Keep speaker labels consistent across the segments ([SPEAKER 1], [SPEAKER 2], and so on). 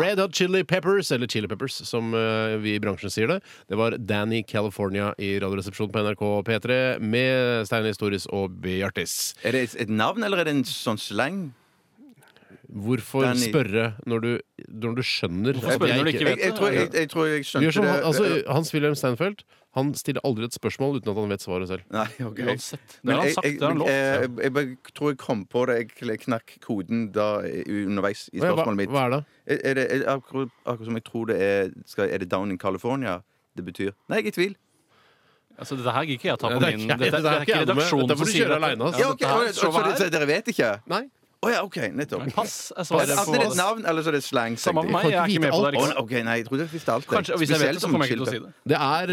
[SPEAKER 1] Red Hot Chili Peppers, eller Chili Peppers, som eh, vi i bransjen sier det. Det var Danny California i Radioresepsjonen på NRK P3 med Stein Historis og Bjartis.
[SPEAKER 2] Er det et- et navn, eller er det en sånn slang?
[SPEAKER 1] Hvorfor
[SPEAKER 2] Danny.
[SPEAKER 1] spørre når du, når du skjønner
[SPEAKER 3] Hvorfor spørre når du ikke
[SPEAKER 2] Jeg,
[SPEAKER 3] vet
[SPEAKER 2] jeg, tror, jeg, jeg tror jeg
[SPEAKER 1] Vi gjør
[SPEAKER 2] skjønte
[SPEAKER 1] som, han-
[SPEAKER 2] det.
[SPEAKER 1] altså, Hans-Wilhelm Steinfeld han stiller aldri et spørsmål uten at han vet svaret selv.
[SPEAKER 2] Nei, ok.
[SPEAKER 3] Uansett. Det
[SPEAKER 2] Men eh,
[SPEAKER 3] har han
[SPEAKER 2] jeg,
[SPEAKER 3] sagt,
[SPEAKER 2] jeg,
[SPEAKER 3] det har han
[SPEAKER 2] jeg,
[SPEAKER 3] lovt.
[SPEAKER 2] jeg, bare tror jeg kom på det. Jeg kl- knakk koden da eh, underveis i
[SPEAKER 1] Hva,
[SPEAKER 2] spørsmålet mitt.
[SPEAKER 1] hva er det?
[SPEAKER 2] Er er det, er, akkurat, akkurat som jeg tror det er skal, Er det Down in California det betyr? Nei, jeg er i tvil.
[SPEAKER 3] Altså, dette her gidder ikke jeg ta
[SPEAKER 1] Nei,
[SPEAKER 3] på
[SPEAKER 1] det er ikke-
[SPEAKER 3] min Dette
[SPEAKER 1] det er
[SPEAKER 3] dette er
[SPEAKER 1] ikke
[SPEAKER 3] ikke
[SPEAKER 1] jeg med.
[SPEAKER 3] redaksjonen
[SPEAKER 1] Dette får du
[SPEAKER 3] som sier
[SPEAKER 1] kjøre alene, altså.
[SPEAKER 3] dette.
[SPEAKER 2] Ja, ok,
[SPEAKER 3] dette
[SPEAKER 2] og, så,
[SPEAKER 3] her-
[SPEAKER 2] så,
[SPEAKER 3] showet
[SPEAKER 2] så
[SPEAKER 3] her-
[SPEAKER 2] dere vet ikke?
[SPEAKER 1] Nei.
[SPEAKER 2] Å ja, OK. Nettopp.
[SPEAKER 3] Pass altså,
[SPEAKER 2] Enten
[SPEAKER 3] er svaret
[SPEAKER 2] er det et
[SPEAKER 3] på
[SPEAKER 2] navn, eller så er det slang. tenkte
[SPEAKER 3] Samme for
[SPEAKER 2] jeg.
[SPEAKER 3] meg, jeg er ikke med på det.
[SPEAKER 2] Å,
[SPEAKER 3] Liksom.
[SPEAKER 2] OK, nei, jeg trodde jeg visste alt. jeg.
[SPEAKER 3] Kanskje, hvis jeg vet
[SPEAKER 2] Spesielt
[SPEAKER 3] det, så
[SPEAKER 2] om
[SPEAKER 3] kommer jeg ikke til å
[SPEAKER 2] skilter.
[SPEAKER 3] si det.
[SPEAKER 1] Det er,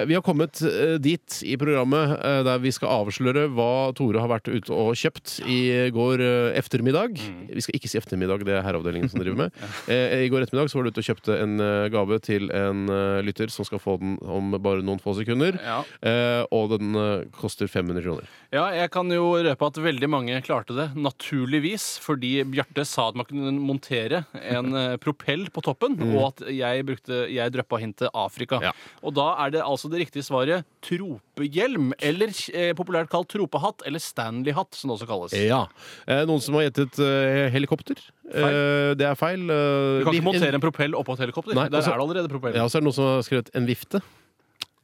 [SPEAKER 1] eh, Vi har kommet eh, dit i programmet eh, der vi skal avsløre hva Tore har vært ute og kjøpt i går eh, ettermiddag.
[SPEAKER 3] Mm.
[SPEAKER 1] Vi skal ikke si ettermiddag, det er herreavdelingen som driver med. Eh, I går ettermiddag så var du ute og kjøpte en eh, gave til en eh, lytter som skal få den om bare noen få sekunder.
[SPEAKER 3] Ja.
[SPEAKER 1] Eh, og den eh, koster 500 kroner.
[SPEAKER 3] Ja, jeg kan jo røpe at veldig mange klarte det, naturligvis, fordi Bjarte sa at man kunne montere en eh, propell på toppen,
[SPEAKER 2] Mm.
[SPEAKER 3] og at jeg, brukte, jeg drøppa hintet Afrika.
[SPEAKER 1] Ja.
[SPEAKER 3] Og da er det altså det riktige svaret tropehjelm, eller eh, populært kalt tropehatt, eller Stanley-hatt, som det også kalles.
[SPEAKER 1] Ja. Eh, noen som har gjettet eh, helikopter. Eh, det er feil. Eh,
[SPEAKER 3] Du kan
[SPEAKER 1] vi-
[SPEAKER 3] ikke montere en propell oppå et helikopter.
[SPEAKER 1] Nei,
[SPEAKER 3] Der
[SPEAKER 1] altså-
[SPEAKER 3] er det allerede propell.
[SPEAKER 1] Ja, og så er det noen som har skrevet en vifte.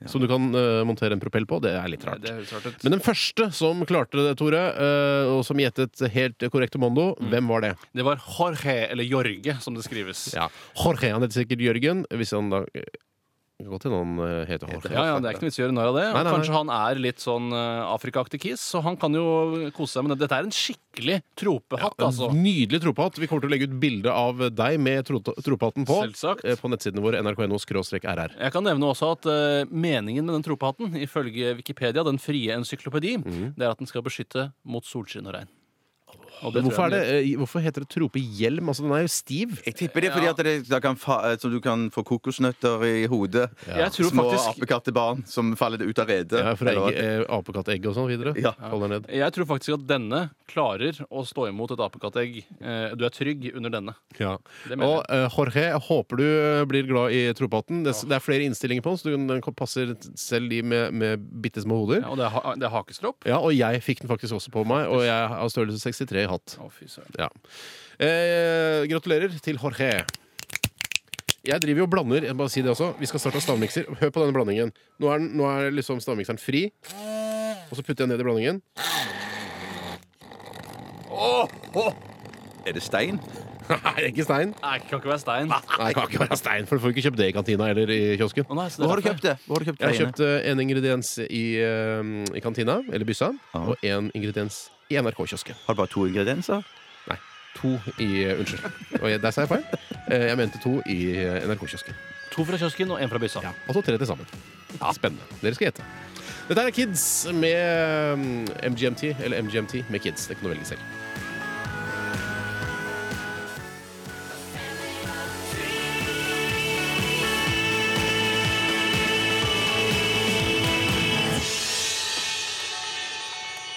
[SPEAKER 1] Som du kan eh, montere en propell på. Det er litt rart.
[SPEAKER 3] Det høres rart ut.
[SPEAKER 1] Men den første som klarte det, Tore, eh, og som gjettet helt korrekt mondo,
[SPEAKER 3] Mm.
[SPEAKER 1] hvem var det?
[SPEAKER 3] Det var Jorge, eller Jorge, som det skrives.
[SPEAKER 1] Jorge. Han heter sikkert Jørgen. Hvis han da Det kan godt hende han eh, heter Jorge.
[SPEAKER 3] Ja, ja, Det er ikke noe vits i å gjøre narr av det.
[SPEAKER 1] Nei, nei, nei.
[SPEAKER 3] Kanskje han er litt sånn eh, Afrika-aktig kis, så han kan jo kose seg med det. Dette er en skikkelig tropehatt, altså.
[SPEAKER 1] En Nydelig tropehatt. Vi kommer til å legge ut bilde av deg med tro- tropehatten på
[SPEAKER 3] Selvsagt.
[SPEAKER 1] eh, på nettsidene våre nrk.no-rr.
[SPEAKER 3] Jeg kan nevne også at eh, meningen med den tropehatten, ifølge Wikipedia, den frie encyklopedi,
[SPEAKER 1] Mhm.
[SPEAKER 3] det er at den skal beskytte mot solskinn og regn. Og det tror jeg
[SPEAKER 1] Hvorfor, er
[SPEAKER 3] den
[SPEAKER 1] det, eh, hvorfor heter det tropehjelm? Altså, den er jo stiv.
[SPEAKER 2] Jeg tipper det er fordi at det, da kan fa, så du kan få kokosnøtter i hodet.
[SPEAKER 3] Jeg tror
[SPEAKER 2] Små
[SPEAKER 3] faktisk-
[SPEAKER 2] apekattebarn som faller ut av redet.
[SPEAKER 1] Ja, fra
[SPEAKER 2] Eller-
[SPEAKER 1] egg, eh, apekattegg og sånn videre.
[SPEAKER 2] Ja.
[SPEAKER 1] Faller ned.
[SPEAKER 3] gjør. Jeg tror faktisk at denne klarer å stå imot et apekattegg. Eh, Du er trygg under denne.
[SPEAKER 1] Ja.
[SPEAKER 3] Det mener
[SPEAKER 1] Og eh, Jorge, jeg håper du eh, blir glad i tropehatten. Det, det er flere innstillinger på den, så du, den passer selv de med, med bitte små hoder.
[SPEAKER 3] Ja, og det er, ha- det er hakestropp.
[SPEAKER 1] Ja, og jeg fikk den faktisk også på meg, og jeg har størrelse 63 i hatt.
[SPEAKER 3] Å, fy søren.
[SPEAKER 1] Ja. Eh, gratulerer til Jorge. Jeg driver jo og blander. Jeg må bare si det også. Vi skal starte stavmikser. Hør på denne blandingen. Nå er, den, nå er liksom stavmikseren fri. Og så putter jeg ned i blandingen.
[SPEAKER 2] Er det stein?
[SPEAKER 1] Nei, det er ikke stein.
[SPEAKER 3] Nei, det kan ikke være stein. Å,
[SPEAKER 1] Nei, det kan ikke være stein, for du får ikke kjøpt det i kantina eller i kiosken.
[SPEAKER 3] nei, så det
[SPEAKER 2] Hvor
[SPEAKER 3] er
[SPEAKER 2] har du
[SPEAKER 3] derfor.
[SPEAKER 2] kjøpt det? Hvor har du kjøpt
[SPEAKER 1] Jeg har
[SPEAKER 2] steinene?
[SPEAKER 1] kjøpt eh, en ingrediens i, eh, i kantina, eller byssa, og en ingrediens i NRK-kiosken.
[SPEAKER 2] Har du bare to ingredienser?
[SPEAKER 1] Nei, to i eh, Unnskyld. Og jeg, der sa jeg feil. Eh, Jeg mente to i eh, NRK-kiosken.
[SPEAKER 3] To fra kiosken og én fra byssa.
[SPEAKER 1] Altså tre til sammen. Spennende. Dere skal gjette. Dette er Kids med mm, MGMT, eller MGMT med Kids. Det kan du velge selv.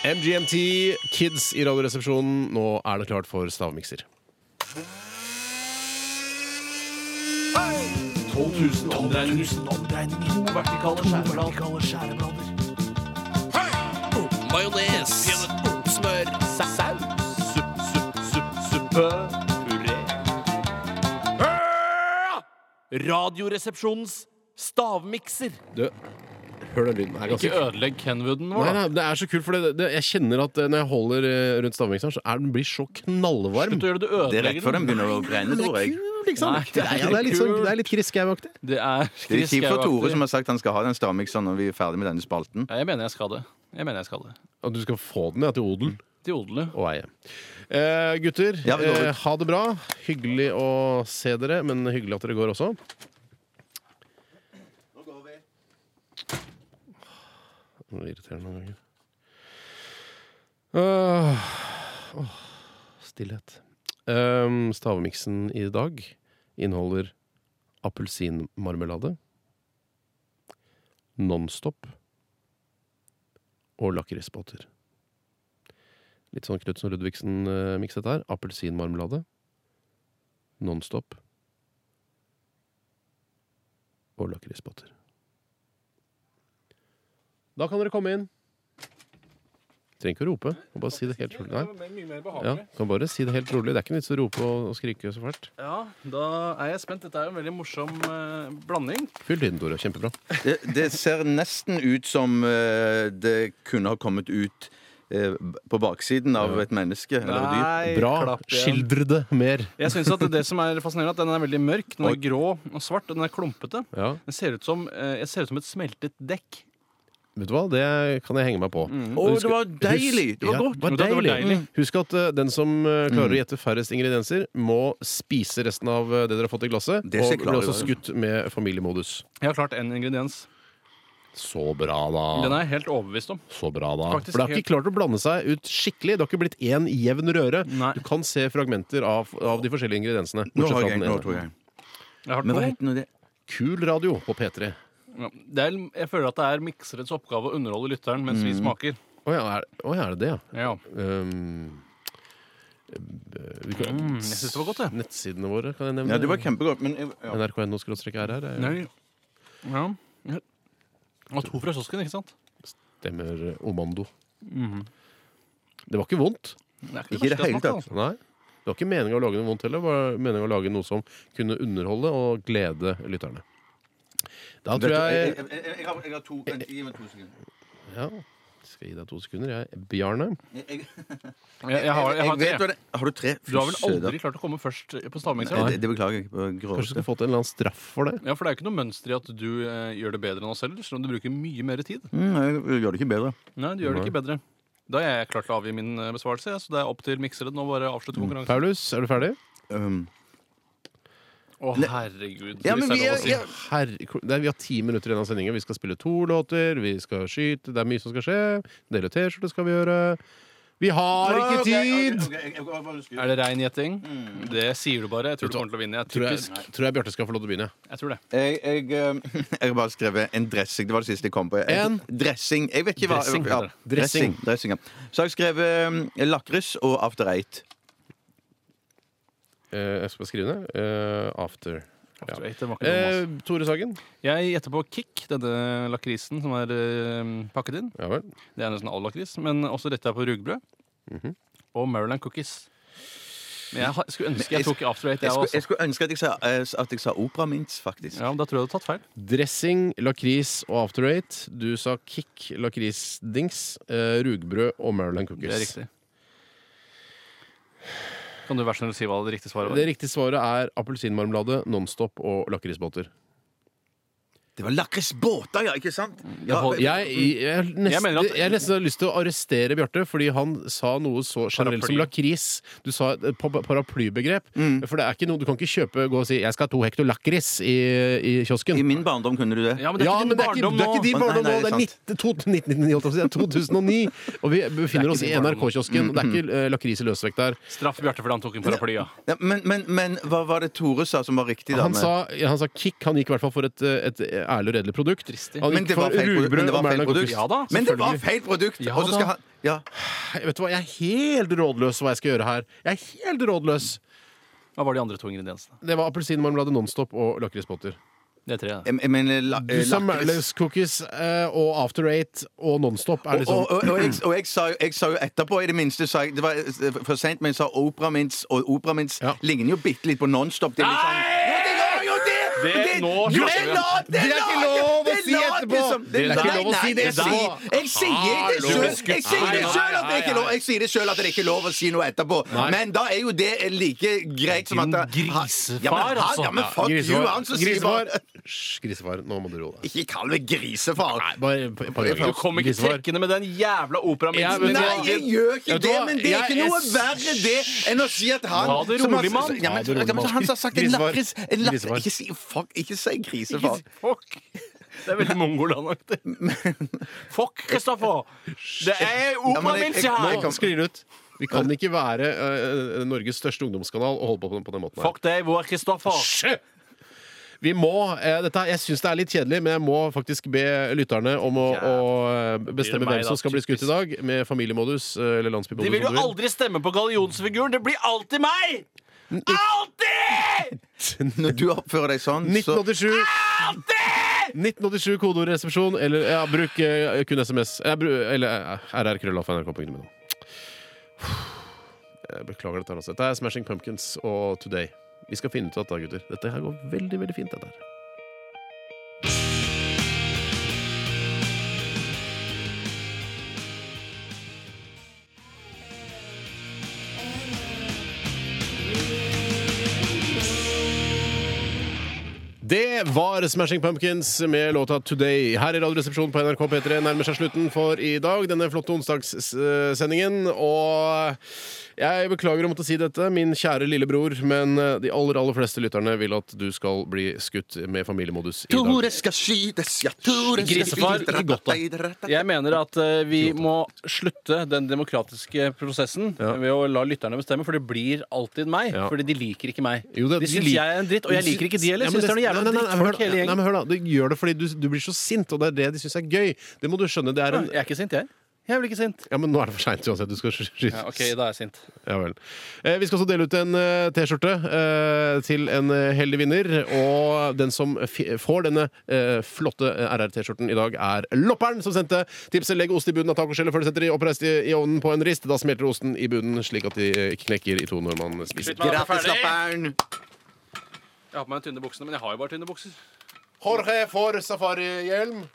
[SPEAKER 1] MGMT, Kids i Radioresepsjonen. Nå er det klart for stavmikser.
[SPEAKER 3] 12 000 omdreininger. To vertikale skjæreblader. Majones. Smør. Saus. Supp, supp, supp, suppe. Puré. Radioresepsjonens stavmikser.
[SPEAKER 1] Du, hør den lyden. Den er ganske
[SPEAKER 3] Ikke ødelegg Kenwooden vår,
[SPEAKER 1] Nei,
[SPEAKER 3] da.
[SPEAKER 1] nei, det er så kult, for det, det, jeg kjenner at eh, når jeg holder eh, rundt stavmikseren, så er den blir så knallvarm.
[SPEAKER 3] Slutt å gjøre det. Du
[SPEAKER 2] Det er rett
[SPEAKER 3] ødelegger
[SPEAKER 2] før den
[SPEAKER 3] den.
[SPEAKER 2] begynner å brenne,
[SPEAKER 1] Men det
[SPEAKER 2] tror
[SPEAKER 1] er
[SPEAKER 2] jeg.
[SPEAKER 1] kul, liksom.
[SPEAKER 3] Nei, det er
[SPEAKER 1] Nei, ja, det er litt,
[SPEAKER 3] kult.
[SPEAKER 1] sånn, det er litt Chris Skau-aktig.
[SPEAKER 3] Det er
[SPEAKER 2] Det er kjipt for Tore, som
[SPEAKER 3] skriskeauaktig.
[SPEAKER 2] har sagt han skal ha den stavmikseren når vi er ferdig med denne spalten.
[SPEAKER 3] Ja, Jeg mener jeg skal det. Jeg mener jeg skal det.
[SPEAKER 1] At du skal få den ja, til odel
[SPEAKER 3] Til odlet.
[SPEAKER 1] og eie. Eh, gutter,
[SPEAKER 2] Ja, vi går
[SPEAKER 1] eh,
[SPEAKER 2] ut.
[SPEAKER 1] ha det bra. Hyggelig å se dere, men hyggelig at dere går også. Det blir irriterende noen ganger. Åh, åh, stillhet. Um, stavmiksen i dag inneholder appelsinmarmelade, Nonstop og lakrisbåter. Litt eh, sånn Knutsen og Ludvigsen-mikset her. Appelsinmarmelade, Nonstop og lakrisbåter. Da kan dere komme inn. Trenger ikke å rope. Kan bare si det helt rolig. Nei.
[SPEAKER 3] Mye mer
[SPEAKER 1] Ja, kan bare si det helt rolig. Det er ikke noe vits å rope og, og skrike så fælt.
[SPEAKER 3] Ja, da er jeg spent. Dette er jo en veldig morsom eh, blanding.
[SPEAKER 1] Fyll tiden, Tore. Kjempebra.
[SPEAKER 2] Det, det ser nesten ut som eh, det kunne ha kommet ut eh, på baksiden av et menneske eller et dyr.
[SPEAKER 1] Bra.
[SPEAKER 3] klapp igjen.
[SPEAKER 1] Skildre det mer.
[SPEAKER 3] Jeg synes at det som er fascinerende, er at den er veldig mørk, den er grå og svart, og den er klumpete.
[SPEAKER 1] Ja,
[SPEAKER 3] Den ser ut som, eh, jeg ser ut som et smeltet dekk.
[SPEAKER 1] Vet du hva, det kan jeg henge meg på.
[SPEAKER 3] Mm.
[SPEAKER 2] Å,
[SPEAKER 1] Og husk-
[SPEAKER 2] det var deilig!
[SPEAKER 1] husk-
[SPEAKER 2] Det var Mm.
[SPEAKER 1] ja,
[SPEAKER 2] godt.
[SPEAKER 1] det var
[SPEAKER 3] Det var
[SPEAKER 1] deilig.
[SPEAKER 3] deilig.
[SPEAKER 1] Husk at eh, den som eh, klarer å gjette færrest ingredienser, må spise resten av eh, det dere har fått i glasset.
[SPEAKER 2] Det skal
[SPEAKER 1] og
[SPEAKER 2] jeg klare
[SPEAKER 1] blir også
[SPEAKER 2] å
[SPEAKER 1] skutt med familiemodus.
[SPEAKER 3] Jeg har klart en ingrediens.
[SPEAKER 1] Så bra, da.
[SPEAKER 2] Ah.
[SPEAKER 3] Den er jeg helt overbevist om.
[SPEAKER 1] Så bra, da.
[SPEAKER 3] Faktisk
[SPEAKER 1] For det har ikke klart å blande seg ut skikkelig. Det har ikke blitt én jevn røre.
[SPEAKER 3] Nei.
[SPEAKER 1] Du kan se fragmenter av, av de forskjellige ingrediensene.
[SPEAKER 2] Nå
[SPEAKER 1] bortsett
[SPEAKER 2] har
[SPEAKER 1] fra
[SPEAKER 2] jeg
[SPEAKER 1] den
[SPEAKER 2] en. Nå
[SPEAKER 1] ene.
[SPEAKER 2] tror jeg.
[SPEAKER 3] Jeg har
[SPEAKER 2] Men hva
[SPEAKER 3] to.
[SPEAKER 2] heter nå det?
[SPEAKER 1] Kul radio på P3.
[SPEAKER 3] Ja, Det er, jeg føler at det er mikserets oppgave å underholde lytteren mens
[SPEAKER 2] Mm.
[SPEAKER 3] vi smaker.
[SPEAKER 1] Å ja, er, å ja, er det det, ja?
[SPEAKER 3] Ja.
[SPEAKER 1] Um, eh, vi kan-
[SPEAKER 3] Mm, jeg synes det var godt, det.
[SPEAKER 1] Nettsidene våre, kan jeg nevne.
[SPEAKER 2] Ja, det var kjempegodt, men jeg- ja.
[SPEAKER 1] NRK.no skråstrek er her. er-
[SPEAKER 3] Nei. Ja. Ja. Og to fra kiosken, ikke sant?
[SPEAKER 1] Stemmer eh, Omando. Mhm. Det var ikke vondt.
[SPEAKER 3] Det er
[SPEAKER 2] Ikke i det
[SPEAKER 3] verste jeg
[SPEAKER 2] hele
[SPEAKER 3] smakte,
[SPEAKER 2] tatt.
[SPEAKER 3] altså.
[SPEAKER 1] Nei. Det var ikke meninga å lage noe vondt heller. Det var meningen å lage noe som kunne underholde og glede lytterne. Da tror jeg
[SPEAKER 2] jeg, jeg, jeg, har, jeg har to vent, Gi meg to sekunder.
[SPEAKER 1] Ja, skal gi deg to sekunder, jeg. Bjarne.
[SPEAKER 2] Jeg, jeg,
[SPEAKER 3] Jeg, jeg har, jeg
[SPEAKER 2] jeg vet
[SPEAKER 3] har
[SPEAKER 2] hva
[SPEAKER 3] tre.
[SPEAKER 2] det Har du tre?
[SPEAKER 3] Du har vel
[SPEAKER 2] Fy søder.
[SPEAKER 3] aldri klart å komme først på
[SPEAKER 2] Nei,
[SPEAKER 3] stavmikseren?
[SPEAKER 2] det, det beklager jeg. Bare
[SPEAKER 1] Kanskje du
[SPEAKER 2] Gråte.
[SPEAKER 1] skulle fått en eller annen straff for det.
[SPEAKER 3] Ja, for det er jo ikke noe mønster i at du eh, gjør det bedre enn oss selv, selv om du bruker mye mer tid.
[SPEAKER 2] Mm, jeg gjør det ikke bedre. Um,
[SPEAKER 3] Nei, du gjør det
[SPEAKER 1] Nei.
[SPEAKER 3] ikke bedre. Da er jeg klar til å avgi min eh, besvarelse, ja, så det er opp til mikseren å bare avslutte konkurransen.
[SPEAKER 1] Paulus, er du ferdig?
[SPEAKER 2] Um,
[SPEAKER 3] Å, herregud.
[SPEAKER 2] ja,
[SPEAKER 3] hvis
[SPEAKER 2] men
[SPEAKER 3] det
[SPEAKER 2] vi
[SPEAKER 3] er
[SPEAKER 2] er,
[SPEAKER 3] lov å si.
[SPEAKER 2] ja,
[SPEAKER 1] Herre, det er, vi har ti minutter igjen av sendingen. Vi skal spille to låter, vi skal skyte, det er mye som skal skje. Dele T-skjorte skal vi gjøre. Vi har ikke tid!
[SPEAKER 3] Er det rein gjetting? Det sier du bare. Jeg tror du kommer til å vinne. Jeg er
[SPEAKER 1] Tror jeg,
[SPEAKER 3] typisk.
[SPEAKER 1] tror jeg Bjarte skal få lov til å begynne.
[SPEAKER 3] Jeg tror det.
[SPEAKER 2] Jeg, jeg, um, jeg har bare skrevet en dressing. Det var det siste jeg kom på.
[SPEAKER 1] En?
[SPEAKER 2] dressing. Jeg vet ikke hva
[SPEAKER 3] Dressing
[SPEAKER 2] ja,
[SPEAKER 3] heter det.
[SPEAKER 1] Dressing.
[SPEAKER 2] dressing. dressing ja. Så har jeg skrevet um, lakris og after eight.
[SPEAKER 1] Eh, jeg skal bare skrive ned. Eh, after. Ja.
[SPEAKER 3] After Eight, det var ikke noe mas.
[SPEAKER 1] Eh, Tore Sagen.
[SPEAKER 3] Jeg gjetter på Kick, denne lakrisen som er eh, pakket inn.
[SPEAKER 1] Ja vel.
[SPEAKER 3] Det er nesten all lakris, men også dette er på rugbrød. Og Maryland Cookies. Men jeg har- skulle ønske jeg tok After Eight, jeg
[SPEAKER 2] Jeg skulle,
[SPEAKER 3] også.
[SPEAKER 2] jeg skulle ønske at jeg sa, eh, at jeg sa opera minst, faktisk.
[SPEAKER 3] Ja, men Da tror jeg du har tatt feil.
[SPEAKER 1] Dressing, lakris og after eight. Du sa kick, lakrisdings, eh, rugbrød og Maryland cookies.
[SPEAKER 3] Det er riktig. Kan du være så snill å si hva det riktige svaret var?
[SPEAKER 1] Det riktige svaret er appelsinmarmelade, Nonstop og lakrisbåter.
[SPEAKER 2] Det var lakrisbåter, ja! Ikke sant? Ja,
[SPEAKER 3] hold-
[SPEAKER 1] Jeg, jeg,
[SPEAKER 3] Mm. Jeg
[SPEAKER 1] nesten,
[SPEAKER 3] mener at-
[SPEAKER 1] jeg har nesten har lyst til å arrestere Bjarte, fordi han sa noe så generelt som
[SPEAKER 3] Paraply. Mm.
[SPEAKER 1] lakris. Du sa et pa- paraplybegrep. For det er ikke noe, du kan ikke kjøpe gå og si 'jeg skal ha to hekto lakris' i, i kiosken.
[SPEAKER 2] I min barndom kunne du det.
[SPEAKER 3] Ja, men det er
[SPEAKER 1] ja,
[SPEAKER 3] ikke
[SPEAKER 1] men
[SPEAKER 3] din
[SPEAKER 1] det er ikke,
[SPEAKER 3] barndom
[SPEAKER 1] det er ikke
[SPEAKER 3] nå.
[SPEAKER 1] din barndom
[SPEAKER 2] Nei, nei,
[SPEAKER 1] nå! Det
[SPEAKER 2] det er
[SPEAKER 1] er
[SPEAKER 2] sant.
[SPEAKER 1] 19, to- 1999, holdt jeg på å si. Det er 2009! Og vi befinner
[SPEAKER 3] ikke
[SPEAKER 1] oss i
[SPEAKER 3] din barndom.
[SPEAKER 1] NRK-kiosken. Det er ikke eh, lakris i løsvekt der.
[SPEAKER 3] Straff Bjarte for han tok en paraply, ja.
[SPEAKER 2] Ja, men, men, men hva var det Tore sa som var riktig? da?
[SPEAKER 1] Han
[SPEAKER 2] med-
[SPEAKER 1] sa, han sa kick. Han gikk i hvert fall for et, eh, et ærlig og redelig produkt.
[SPEAKER 3] Dristig.
[SPEAKER 1] Han
[SPEAKER 2] Men
[SPEAKER 1] gikk
[SPEAKER 2] det var
[SPEAKER 1] for
[SPEAKER 2] feil produkt. Men
[SPEAKER 1] rugbrød
[SPEAKER 2] det
[SPEAKER 1] og
[SPEAKER 2] var feil
[SPEAKER 1] Maryland
[SPEAKER 2] produkt.
[SPEAKER 1] cookies.
[SPEAKER 3] Ja da,
[SPEAKER 2] men det var
[SPEAKER 3] selvfølgelig.
[SPEAKER 2] feil produkt!
[SPEAKER 3] Ja
[SPEAKER 2] og så skal
[SPEAKER 3] da.
[SPEAKER 2] han Ja.
[SPEAKER 1] Vet du hva, Jeg er helt rådløs hva jeg skal gjøre her. Jeg er helt rådløs
[SPEAKER 3] Hva var de andre to ingrediensene?
[SPEAKER 1] Det var appelsinmarmelade Nonstop og lakrisbåter.
[SPEAKER 3] Det er tre. ja.
[SPEAKER 2] Jeg, jeg mener la,
[SPEAKER 1] Du sa
[SPEAKER 2] Eh, lakris-
[SPEAKER 1] Marley's Cookies eh, og After Eight og Nonstop. Er
[SPEAKER 2] Og,
[SPEAKER 1] liksom
[SPEAKER 2] og, og, og, jeg, og jeg, sa, jo- jeg sa jo etterpå, i det minste sa jeg, Det var eh, for seint, men jeg sa Opera Mints, og Opera Mints
[SPEAKER 1] Ja.
[SPEAKER 2] ligner jo bitte litt på Nonstop. Det er litt sånn Jo, det gjør jo det!
[SPEAKER 3] Det- nå
[SPEAKER 2] jo,
[SPEAKER 3] slutter vi.
[SPEAKER 2] la-
[SPEAKER 1] Det er ikke lov å
[SPEAKER 2] det
[SPEAKER 1] si
[SPEAKER 2] la-
[SPEAKER 1] etterpå.
[SPEAKER 2] liksom-
[SPEAKER 1] Det er ikke
[SPEAKER 2] nei,
[SPEAKER 1] lov å si
[SPEAKER 2] nei,
[SPEAKER 1] det
[SPEAKER 2] jeg sier-
[SPEAKER 1] etterpå. Ah,
[SPEAKER 2] Jeg sier det
[SPEAKER 3] Hallo,
[SPEAKER 2] sjøl!
[SPEAKER 3] skutt.
[SPEAKER 2] Jeg sier det
[SPEAKER 3] Nei,
[SPEAKER 2] selv at det ikke er lov
[SPEAKER 3] nei, nei,
[SPEAKER 2] Jeg sier det selv at det ikke er lov å si noe etterpå. Men da er jo det like greit som at det-
[SPEAKER 3] Din grisefar,
[SPEAKER 2] ja, men, han-
[SPEAKER 3] altså.
[SPEAKER 2] Ja, men fuck you,
[SPEAKER 1] Grisefar.
[SPEAKER 2] han som sier
[SPEAKER 1] Grisefar.
[SPEAKER 2] bare
[SPEAKER 1] Hysj, grisefar. Nå må du roe deg.
[SPEAKER 2] Ikke kall meg grisefar.
[SPEAKER 1] Nei, bare et par
[SPEAKER 3] Du
[SPEAKER 1] ganger.
[SPEAKER 3] kom ikke
[SPEAKER 1] Grisefar.
[SPEAKER 3] trekkende med den jævla
[SPEAKER 1] Ja, men
[SPEAKER 3] operaminsen.
[SPEAKER 1] vet du
[SPEAKER 2] Nei,
[SPEAKER 1] hva?
[SPEAKER 2] jeg gjør ikke
[SPEAKER 1] Vet du
[SPEAKER 2] det,
[SPEAKER 1] hva?
[SPEAKER 2] men det er
[SPEAKER 1] Jeg
[SPEAKER 2] ikke noe
[SPEAKER 1] er-
[SPEAKER 2] verre det enn å si at han
[SPEAKER 3] Ta det
[SPEAKER 2] som
[SPEAKER 3] rolig,
[SPEAKER 2] har-
[SPEAKER 3] mann.
[SPEAKER 2] Ja, men,
[SPEAKER 1] Ta det rolig,
[SPEAKER 2] ja, men
[SPEAKER 1] mann.
[SPEAKER 2] han som har sagt en
[SPEAKER 1] Grisefar.
[SPEAKER 2] lakris en lak-
[SPEAKER 1] Grisefar.
[SPEAKER 2] Ikke si fuck, ikke si grisefar.
[SPEAKER 3] Fuck! Det er veldig mongolandaktig. Fuck, Kristoffer! Det
[SPEAKER 2] Ja,
[SPEAKER 3] er
[SPEAKER 2] men jeg-
[SPEAKER 3] operamins
[SPEAKER 2] jeg-
[SPEAKER 3] her!
[SPEAKER 2] jeg
[SPEAKER 1] Nå sklir det ut. Vi kan ikke være eh, Norges største ungdomskanal og holde på på den- på den måten. her.
[SPEAKER 3] Fuck deg, hvor er Kristoffer?
[SPEAKER 1] Hysj! Vi må, eh, dette, er- Jeg syns det er litt kjedelig, men jeg må faktisk be lytterne om å, å eh, bestemme hvem
[SPEAKER 3] meg, da,
[SPEAKER 1] som skal bli skutt i dag, med familiemodus eh, eller landsbymodus.
[SPEAKER 3] De vil
[SPEAKER 1] om du vil.
[SPEAKER 3] jo aldri stemme på gallionsfiguren! Det blir alltid meg! Alltid!
[SPEAKER 2] Når du oppfører deg sånn, så
[SPEAKER 1] 1987. 1987 kodeordresepsjon, eller ja, bruk eh, kun SMS. Eh, bru, eller eh, rrkrøllalfa.nrk.no. Jeg Beklager dette. altså. Dette er Smashing Pumpkins og Today. Vi skal finne ut av dette, gutter. Dette her går veldig, veldig fint. dette her. Det var Smashing Pumpkins med låta 'Today'. Her i Radioresepsjonen på NRK P3 nærmer seg slutten for i dag. Denne flotte onsdagssendingen. Og jeg beklager å måtte si dette, min kjære lillebror, men eh, de aller aller fleste lytterne vil at du skal bli skutt med familiemodus i dag.
[SPEAKER 2] Tore skal skytes, ja, Tore skal
[SPEAKER 3] Grisefar,
[SPEAKER 2] skytes.
[SPEAKER 3] ikke godt,
[SPEAKER 2] Ratatatatata.
[SPEAKER 3] Jeg mener at eh, vi må slutte den demokratiske prosessen ved å la lytterne bestemme, for det blir alltid meg.
[SPEAKER 1] Ja.
[SPEAKER 3] Fordi de liker ikke meg.
[SPEAKER 1] Jo, det-
[SPEAKER 3] de syns
[SPEAKER 1] lik-
[SPEAKER 3] jeg er en dritt, og jeg liker ikke de
[SPEAKER 1] Ja,
[SPEAKER 3] heller.
[SPEAKER 1] men
[SPEAKER 3] syns det er noe jævla
[SPEAKER 1] nei, nei, nei,
[SPEAKER 3] drittfolk
[SPEAKER 1] hør da.
[SPEAKER 3] hele
[SPEAKER 1] Nei,
[SPEAKER 3] gjengen.
[SPEAKER 1] men hør da, Du gjør det fordi du, du blir så sint, og det er det de syns er gøy. Det må du skjønne. Det er en
[SPEAKER 3] Jeg er ikke sint, jeg. Jeg blir ikke sint.
[SPEAKER 1] Ja, men nå er det for seint uansett. Du skal sky- skytes.
[SPEAKER 3] Ja, OK, da er jeg sint.
[SPEAKER 1] Ja vel. Eh, vi skal også dele ut en eh, T-skjorte eh, til en eh, heldig vinner. Og den som fi får denne eh, flotte eh, RR-T-skjorten i dag, er Lopperen, som sendte tipset 'Legg ost i bunnen av tacoskjellet før du setter det i oppreist i, i ovnen på en rist'. Da smelter osten i bunnen, slik at de eh, knekker i to når man spiser.
[SPEAKER 2] Gratis, lapperen!
[SPEAKER 3] Jeg har på meg tynne buksene, men jeg har jo bare tynne bukser.
[SPEAKER 1] Jorge får safarihjelm.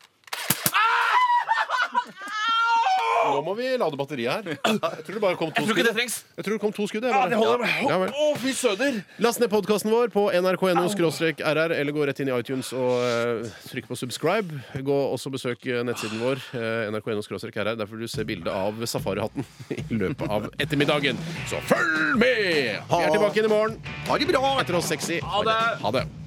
[SPEAKER 1] Nå må vi lade batteriet her. Jeg tror det bare kom to
[SPEAKER 3] Tror ikke Ah, det
[SPEAKER 1] skudd.
[SPEAKER 3] trengs.
[SPEAKER 1] Jeg tror det kom to skudd. jeg, bare. Ja vel.
[SPEAKER 3] Å, fy søder!
[SPEAKER 1] Last ned podkasten vår på nrk.no rr, eller gå rett inn i iTunes og eh, trykk på subscribe. Gå også Besøk eh, nettsiden vår, eh, nrk.no rr. Der får du se bilde av safarihatten i løpet av ettermiddagen. Så følg med! Vi er tilbake igjen i morgen.
[SPEAKER 2] Ha det bra!
[SPEAKER 1] Etter oss sexy.
[SPEAKER 3] det.
[SPEAKER 1] Ha det.